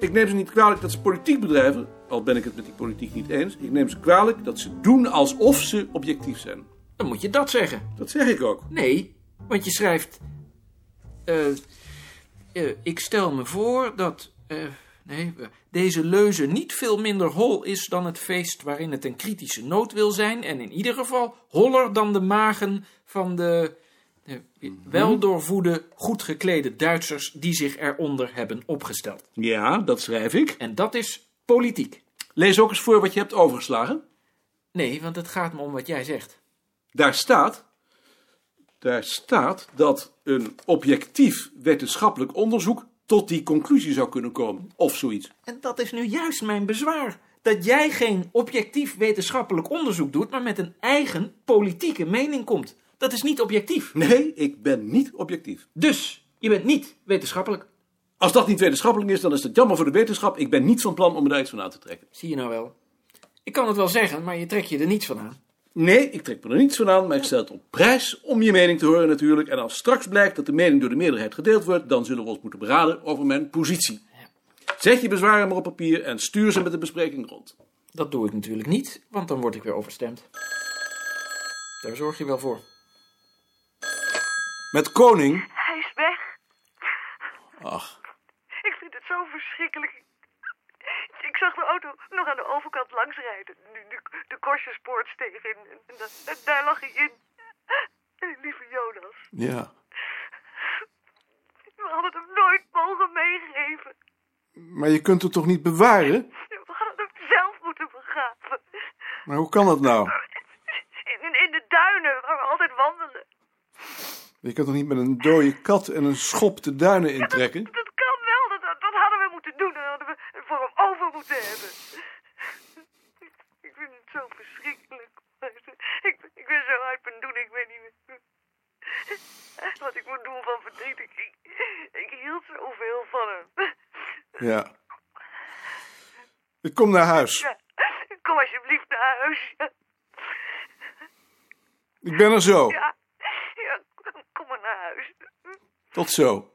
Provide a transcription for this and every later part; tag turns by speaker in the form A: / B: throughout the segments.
A: Ik neem ze niet kwalijk dat ze politiek bedrijven, al ben ik het met die politiek niet eens. Ik neem ze kwalijk dat ze doen alsof ze objectief zijn.
B: Dan moet je dat zeggen.
A: Dat zeg ik ook.
B: Nee, want je schrijft. eh, eh, ik stel me voor dat. eh, nee, eh, deze leuze niet veel minder hol is dan het feest waarin het een kritische noot wil zijn. En in ieder geval holler dan de magen van de. eh, weldoorvoede, goed geklede Duitsers die zich eronder hebben opgesteld.
A: Ja, dat schrijf ik.
B: En dat is politiek.
A: Lees ook eens voor wat je hebt overgeslagen.
B: Nee, want het gaat me om wat jij zegt.
A: Daar staat, daar staat dat een objectief wetenschappelijk onderzoek tot die conclusie zou kunnen komen. Of zoiets.
B: En dat is nu juist mijn bezwaar. Dat jij geen objectief wetenschappelijk onderzoek doet, maar met een eigen politieke mening komt. Dat is niet objectief.
A: Nee, ik ben niet objectief.
B: Dus, je bent niet wetenschappelijk.
A: Als dat niet wetenschappelijk is, dan is dat jammer voor de wetenschap. Ik ben niet van plan om me daar iets van aan te trekken.
B: Zie je nou wel. Ik kan het wel zeggen, maar je trekt je er niets van aan.
A: Nee, ik trek me er niets van aan, maar ik stel het op prijs om je mening te horen natuurlijk. En als straks blijkt dat de mening door de meerderheid gedeeld wordt, dan zullen we ons moeten beraden over mijn positie. Zet je bezwaren maar op papier en stuur ze met de bespreking rond.
B: Dat doe ik natuurlijk niet, want dan word ik weer overstemd. Daar zorg je wel voor.
C: Met koning?
D: Hij is weg.
C: Ach,
D: Ik vind het zo verschrikkelijk. Ik- Ik zag de auto nog aan de overkant langsrijden. De, de, de Korsjespoortsteeg in. En, da- en daar lag hij in. Lieve Jonas,
C: ja.
D: we hadden hem nooit mogen meegeven.
C: Maar je kunt het toch niet bewaren?
D: We hadden hem zelf moeten begraven.
C: Maar hoe kan dat nou?
D: In, in, in de duinen waar we altijd wandelen.
C: Je kan toch niet met een dode kat en een schop de duinen intrekken?
D: Dat kan wel, dat- dat, dat hadden we moeten doen. Dat hadden we het voor hem over moeten hebben. Ik vind het zo verschrikkelijk. Ik, ben- ik ben zo uit mijn doen, ik weet niet meer wat ik moet doen van verdriet. Ik, ik, ik hield zoveel van hem.
C: Ja. Ik kom naar huis.
D: Ja, Kom alsjeblieft naar huis. Ja,
C: Ik ben er zo.
D: ja, ja, kom maar naar huis.
C: Tot zo.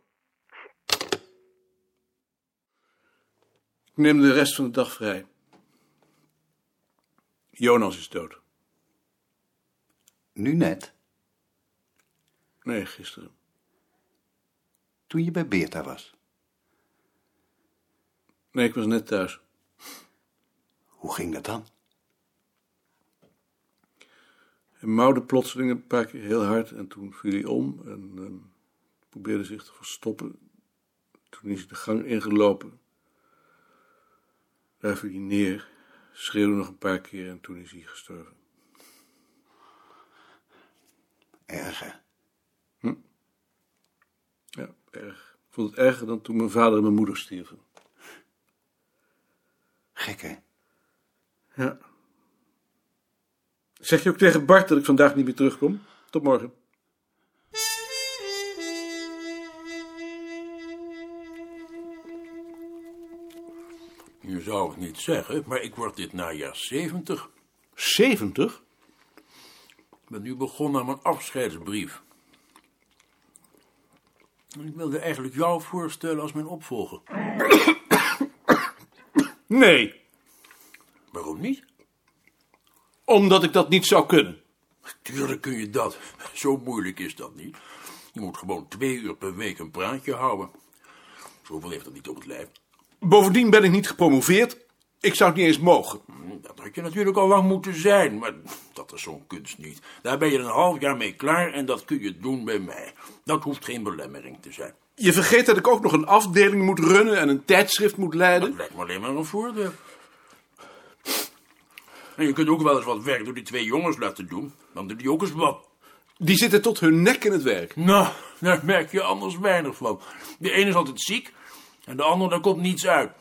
A: Ik neem de rest van de dag vrij. Jonas is dood.
E: Nu net,
A: Nee, gisteren.
E: toen je bij Beerta was.
A: Nee, ik was net thuis.
E: Hoe ging dat dan?
A: Hij mouwde plotseling een paar keer heel hard en toen viel hij om en ehm, probeerde zich te verstoppen. Toen is hij de gang ingelopen. Daar viel hij neer, schreeuwde nog een paar keer en toen is hij gestorven.
E: Erg, hè?
A: Ja, erg. Ik vond het erger dan toen mijn vader en mijn moeder stierven.
E: Gek, hè?
A: Ja. Zeg je ook tegen Bart dat ik vandaag niet meer terugkom? Tot morgen.
F: Je zou het niet zeggen, maar ik word dit najaar 70.
A: 70?
F: Ik ben nu begonnen aan mijn afscheidsbrief. En Ik wilde eigenlijk jou voorstellen als mijn opvolger.
A: Nee,
F: Waarom niet?
A: omdat ik dat niet zou kunnen.
F: Tuurlijk kun je dat. Zo moeilijk is dat niet. Je moet gewoon twee uur per week een praatje houden. Zoveel heeft dat niet op het lijf.
A: Bovendien ben ik niet gepromoveerd. Ik zou het niet eens mogen.
F: Hm, Dat had je natuurlijk al lang moeten zijn, maar dat is zo'n kunst niet. Daar ben je een half jaar mee klaar en dat kun je doen bij mij. Dat hoeft geen belemmering te zijn.
A: Je vergeet dat ik ook nog een afdeling moet runnen en een tijdschrift moet
F: Dat
A: leiden.
F: lijkt me alleen maar een voordeel. En je kunt ook wel eens wat werk door die twee jongens laten doen. Dan doen die ook eens wat.
A: Die zitten tot hun nek in het werk.
F: Nou, daar merk je anders weinig van. De ene is altijd ziek en de ander, daar komt niets uit.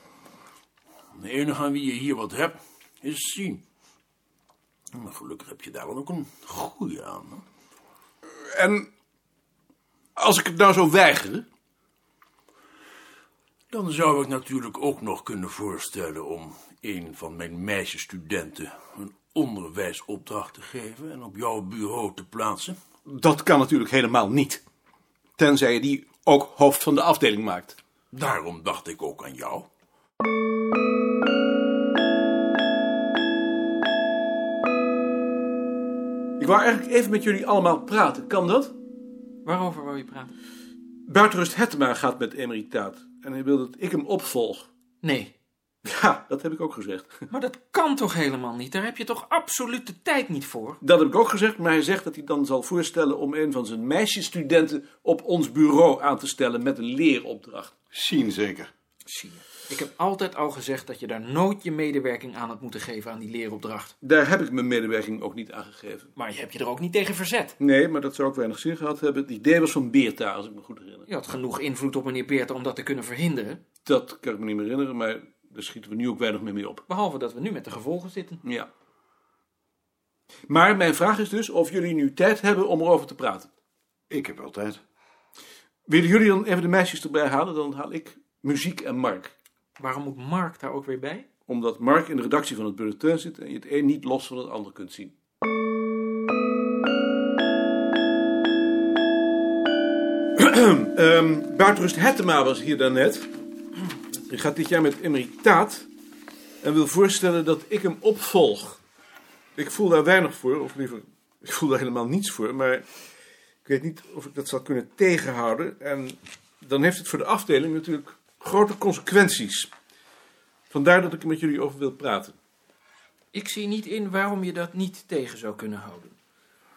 F: De enige aan wie je hier wat hebt, is zien. Maar gelukkig heb je daar wel ook een goede aan. hè.
A: En als ik het nou zou weigeren,
F: Dan zou ik natuurlijk ook nog kunnen voorstellen om een van mijn meisjesstudenten een onderwijsopdracht te geven en op jouw bureau te plaatsen.
A: dat kan natuurlijk helemaal niet. Tenzij je die ook hoofd van de afdeling maakt.
F: Daarom dacht ik ook aan jou.
A: Ik wou eigenlijk even met jullie allemaal praten. Kan dat?
B: Waarover wou je praten?
A: Buitenrust Hettema gaat met emeritaat. En hij wil dat ik hem opvolg.
B: Nee.
A: Ja, dat heb ik ook gezegd.
B: Maar dat kan toch helemaal niet? Daar heb je toch absoluut de tijd niet voor?
A: Dat heb ik ook gezegd, maar hij zegt dat hij dan zal voorstellen om een van zijn meisjesstudenten op ons bureau aan te stellen met een leeropdracht.
E: Zien zeker.
B: Zie je. Ik heb altijd al gezegd dat je daar nooit je medewerking aan had moeten geven aan die leeropdracht.
A: Daar heb ik mijn medewerking ook niet aan gegeven.
B: Maar je hebt je er ook niet tegen verzet.
A: Nee, maar dat zou ook weinig zin gehad hebben. Het idee was van Beerta, als ik me goed herinner.
B: Je had genoeg invloed op meneer Beerta om dat te kunnen verhinderen.
A: Dat kan ik me niet meer herinneren, maar daar schieten we nu ook weinig meer mee op.
B: Behalve dat we nu met de gevolgen zitten.
A: Ja. Maar mijn vraag is dus of jullie nu tijd hebben om erover te praten.
E: Ik heb altijd.
A: Willen jullie dan even de meisjes erbij halen? Dan haal ik muziek en Mark.
B: Waarom moet Mark daar ook weer bij?
A: Omdat Mark in de redactie van het bulletin zit en je het een niet los van het ander kunt zien. Ehm Buitenrust Hettema was hier daarnet. Die gaat dit jaar met emeritaat en wil voorstellen dat ik hem opvolg. Ik voel daar weinig voor, of liever, ik voel daar helemaal niets voor, maar ik weet niet of ik dat zal kunnen tegenhouden. En dan heeft het voor de afdeling natuurlijk grote consequenties. Vandaar dat ik er met jullie over wil praten.
B: Ik zie niet in waarom je dat niet tegen zou kunnen houden.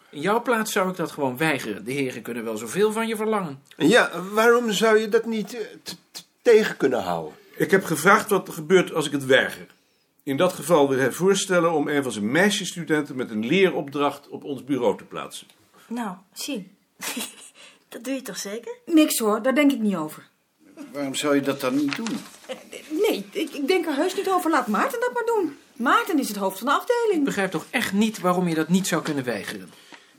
B: In jouw plaats zou ik dat gewoon weigeren. De heren kunnen wel zoveel van je verlangen.
G: Ja, waarom zou je dat niet eh, t- t- tegen kunnen houden?
A: Ik heb gevraagd wat er gebeurt als ik het weiger. In dat geval wil hij voorstellen om een van zijn meisjesstudenten met een leeropdracht op ons bureau te plaatsen.
H: Nou, zie. dat doe je toch zeker?
I: Niks hoor, daar denk ik niet over.
E: Waarom zou je dat dan niet doen?
I: Nee, ik, ik denk er heus niet over. Laat Maarten dat maar doen. Maarten is het hoofd van de
B: Ik
I: afdeling.
B: begrijp toch echt niet waarom je dat niet zou kunnen weigeren.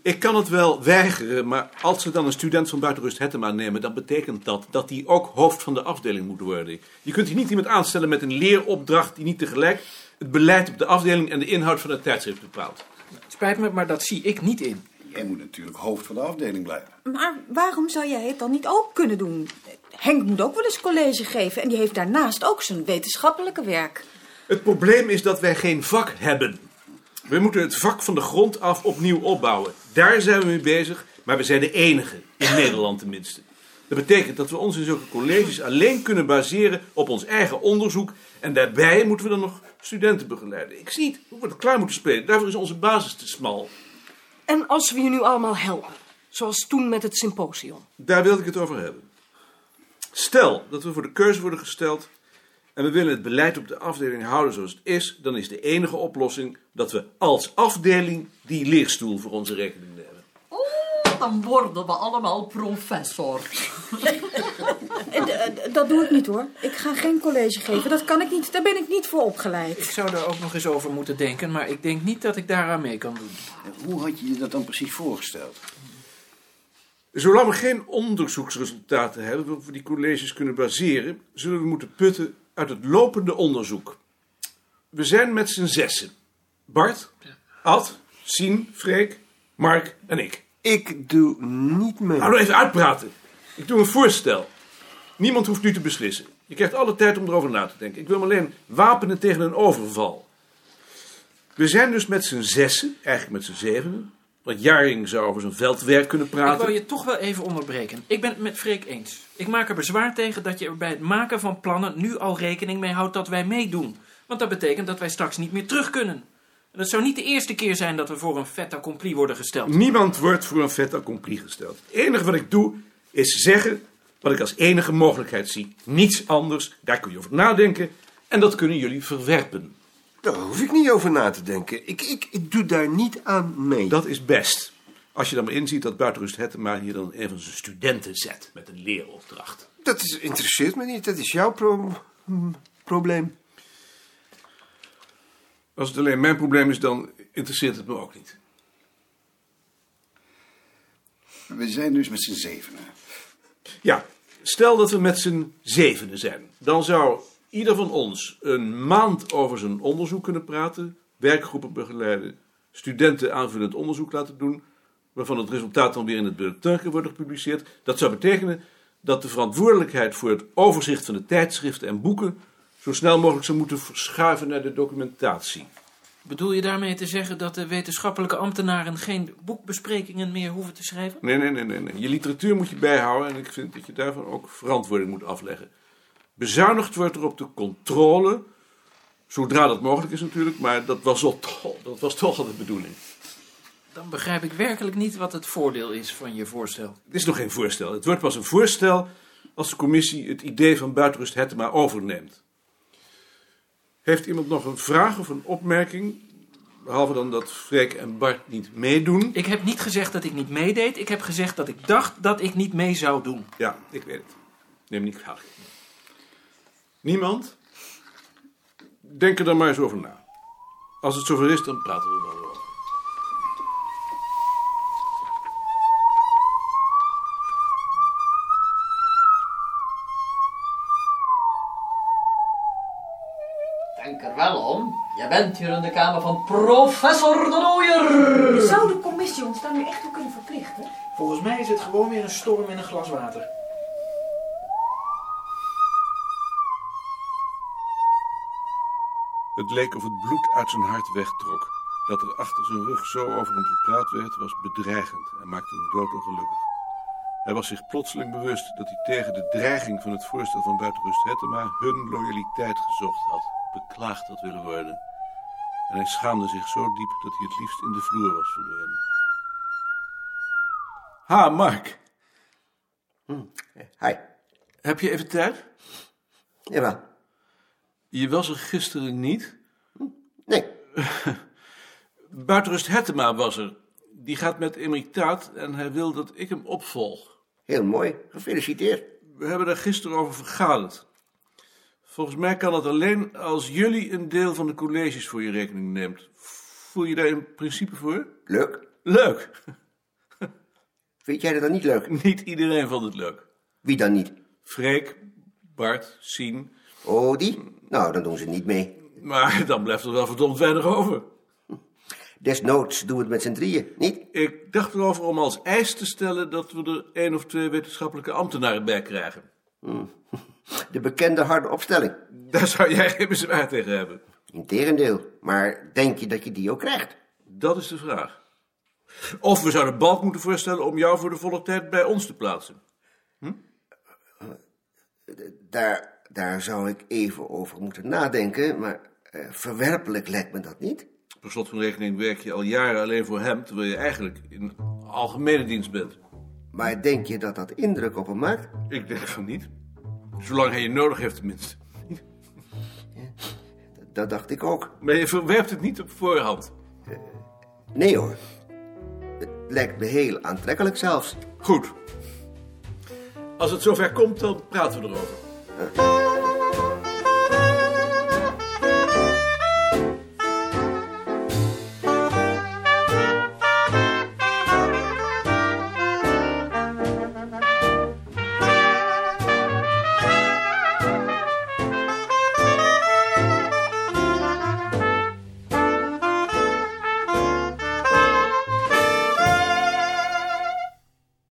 A: Ik kan het wel weigeren, maar als ze dan een student van buitenrust Hettema nemen, dan betekent dat dat die ook hoofd van de afdeling moet worden. Je kunt hier niet iemand aanstellen met een leeropdracht die niet tegelijk het beleid op de afdeling en de inhoud van het tijdschrift bepaalt.
B: Spijt me, maar dat zie ik niet in.
E: Jij moet natuurlijk hoofd van de afdeling blijven.
I: Maar waarom zou jij het dan niet ook kunnen doen? Henk moet ook wel eens college geven en die heeft daarnaast ook zijn wetenschappelijke werk.
A: Het probleem is dat wij geen vak hebben. We moeten het vak van de grond af opnieuw opbouwen. Daar zijn we mee bezig, maar we zijn de enige, in Nederland tenminste. Dat betekent dat we ons in zulke colleges alleen kunnen baseren op ons eigen onderzoek. En daarbij moeten we dan nog studenten begeleiden. Ik zie niet hoe we het klaar moeten spelen. Daarvoor is onze basis te smal.
J: En als we je nu allemaal helpen, zoals toen met het symposium.
A: Daar wilde ik het over hebben. Stel dat we voor de keuze worden gesteld en we willen het beleid op de afdeling houden zoals het is, dan is de enige oplossing dat we als afdeling die leerstoel voor onze rekening nemen.
K: Dan worden we allemaal professor.
I: En, eh, dat doe ik niet hoor. Ik ga geen college geven. Dat kan ik niet. Daar ben ik niet voor opgeleid.
B: Ik zou daar ook nog eens over moeten denken, maar ik denk niet dat ik daaraan mee kan doen.
E: Hoe had je je dat dan precies voorgesteld?
A: Zolang we geen onderzoeksresultaten hebben waarop we die colleges kunnen baseren, zullen we moeten putten uit het lopende onderzoek. We zijn met z'n zessen. Bart, Ad, Sien, Freek, Mark en ik.
G: Ik doe niet mee.
A: Nou, nou even uitpraten. Ik doe een voorstel. Niemand hoeft nu te beslissen. Je krijgt alle tijd om erover na te denken. Ik wil me alleen wapenen tegen een overval. We zijn dus met z'n zessen, eigenlijk met z'n zevenen. Want Jaring zou over zijn veldwerk kunnen
B: Ik wou
A: praten.
B: je toch wel even onderbreken. Ik ben het met Freek eens. Ik maak er bezwaar tegen dat je er bij het maken van plannen nu al rekening mee houdt dat wij meedoen. Want dat betekent dat wij straks niet meer terug kunnen. En het zou niet de eerste keer zijn dat we voor een fait accompli worden gesteld.
A: Niemand wordt voor een vet accompli gesteld. Het enige wat ik doe is zeggen wat ik als enige mogelijkheid zie. Niets anders, daar kun je over nadenken. En dat kunnen jullie verwerpen.
G: Daar hoef ik niet over na te denken. Ik, ik, ik doe daar niet aan mee.
A: Dat is best. Als je dan maar inziet dat Buitenrust Hettema hier dan een van zijn studenten zet met een leeropdracht.
G: dat is, interesseert me niet. Dat is jouw pro- hm, probleem.
A: Als het alleen mijn probleem is, dan interesseert het me ook niet.
E: We zijn dus met z'n zevenen.
A: Ja, stel dat we met z'n zevenen zijn. Dan zou ieder van ons een maand over zijn onderzoek kunnen praten, werkgroepen begeleiden, studenten aanvullend onderzoek laten doen, waarvan het resultaat dan weer in het bulletin kan worden gepubliceerd. Dat zou betekenen dat de verantwoordelijkheid voor het overzicht van de tijdschriften en boeken zo snel mogelijk zou moeten verschuiven naar de documentatie.
B: Bedoel je daarmee te zeggen dat de wetenschappelijke ambtenaren geen boekbesprekingen meer hoeven te schrijven?
A: Nee, nee, nee, nee, nee. Je literatuur moet je bijhouden en ik vind dat je daarvan ook verantwoording moet afleggen. Bezuinigd wordt er op de controle, zodra dat mogelijk is natuurlijk, maar dat was, al toch- dat was toch al de bedoeling.
B: Dan begrijp ik werkelijk niet wat het voordeel is van je voorstel.
A: Het is nog geen voorstel. Het wordt pas een voorstel als de commissie het idee van buitenrust Hettema overneemt. Heeft iemand nog een vraag of een opmerking? Behalve dan dat Freek en Bart niet meedoen.
B: Ik heb niet gezegd dat ik niet meedeed. Ik heb gezegd dat ik dacht dat ik niet mee zou doen.
A: Ja, ik weet het. Neem niet kwalijk. Niemand? Denk er dan maar eens over na. Als het zover is, dan praten we er wel over.
K: Denk er wel om. Je bent hier in de kamer van professor de Nooier.
L: Zou de commissie ons daar nu echt toe kunnen verplichten?
B: Volgens mij is het gewoon weer een storm in een glas water.
M: Het leek of het bloed uit zijn hart wegtrok. Dat er achter zijn rug zo over hem gepraat werd, was bedreigend en maakte hem doodongelukkig. Hij was zich plotseling bewust dat hij tegen de dreiging van het voorstel van buitenrust Hettema hun loyaliteit gezocht had, beklaagd had willen worden. En hij schaamde zich zo diep dat hij het liefst in de vloer was verdwenen.
A: Ha, Mark.
N: Hi.
A: Heb je even tijd?
N: Jawel.
A: Je was er gisteren niet?
N: Nee.
A: Buitenrust Hettema was er. Die gaat met emeritaat en hij wil dat ik hem opvolg.
N: Heel mooi. Gefeliciteerd.
A: We hebben daar gisteren over vergaderd. Volgens mij kan dat alleen als jullie een deel van de colleges voor je rekening neemt. Voel je daar in principe voor?
N: Leuk.
A: Leuk.
N: Vind jij dat dan niet leuk?
A: Niet iedereen vond het leuk.
N: Wie dan niet?
A: Freek, Bart, Sien.
N: Oh, die? Nou, dan doen ze niet mee.
A: Maar dan blijft er wel verdomd weinig over.
N: Desnoods doen we het met z'n drieën, niet?
A: Ik dacht erover om als eis te stellen dat we er één of twee wetenschappelijke ambtenaren bij krijgen.
N: De bekende harde opstelling.
A: Daar zou jij geen bezwaar tegen hebben.
N: Integendeel. Maar denk je dat je die ook krijgt?
A: Dat is de vraag. Of we zouden Balk moeten voorstellen om jou voor de volle tijd bij ons te plaatsen.
N: Daar, daar zou ik even over moeten nadenken, maar eh, verwerpelijk lijkt me dat niet.
A: Per slot van rekening werk je al jaren alleen voor hem, terwijl je eigenlijk in algemene dienst bent.
N: Maar denk je dat dat indruk op hem maakt?
A: Ik denk van niet. Zolang hij je nodig heeft tenminste.
N: Dat dacht ik ook.
A: Maar je verwerpt het niet op voorhand.
N: Nee hoor. Het lijkt me heel aantrekkelijk zelfs.
A: Goed. Als het zover komt, dan praten we erover.
N: Eh.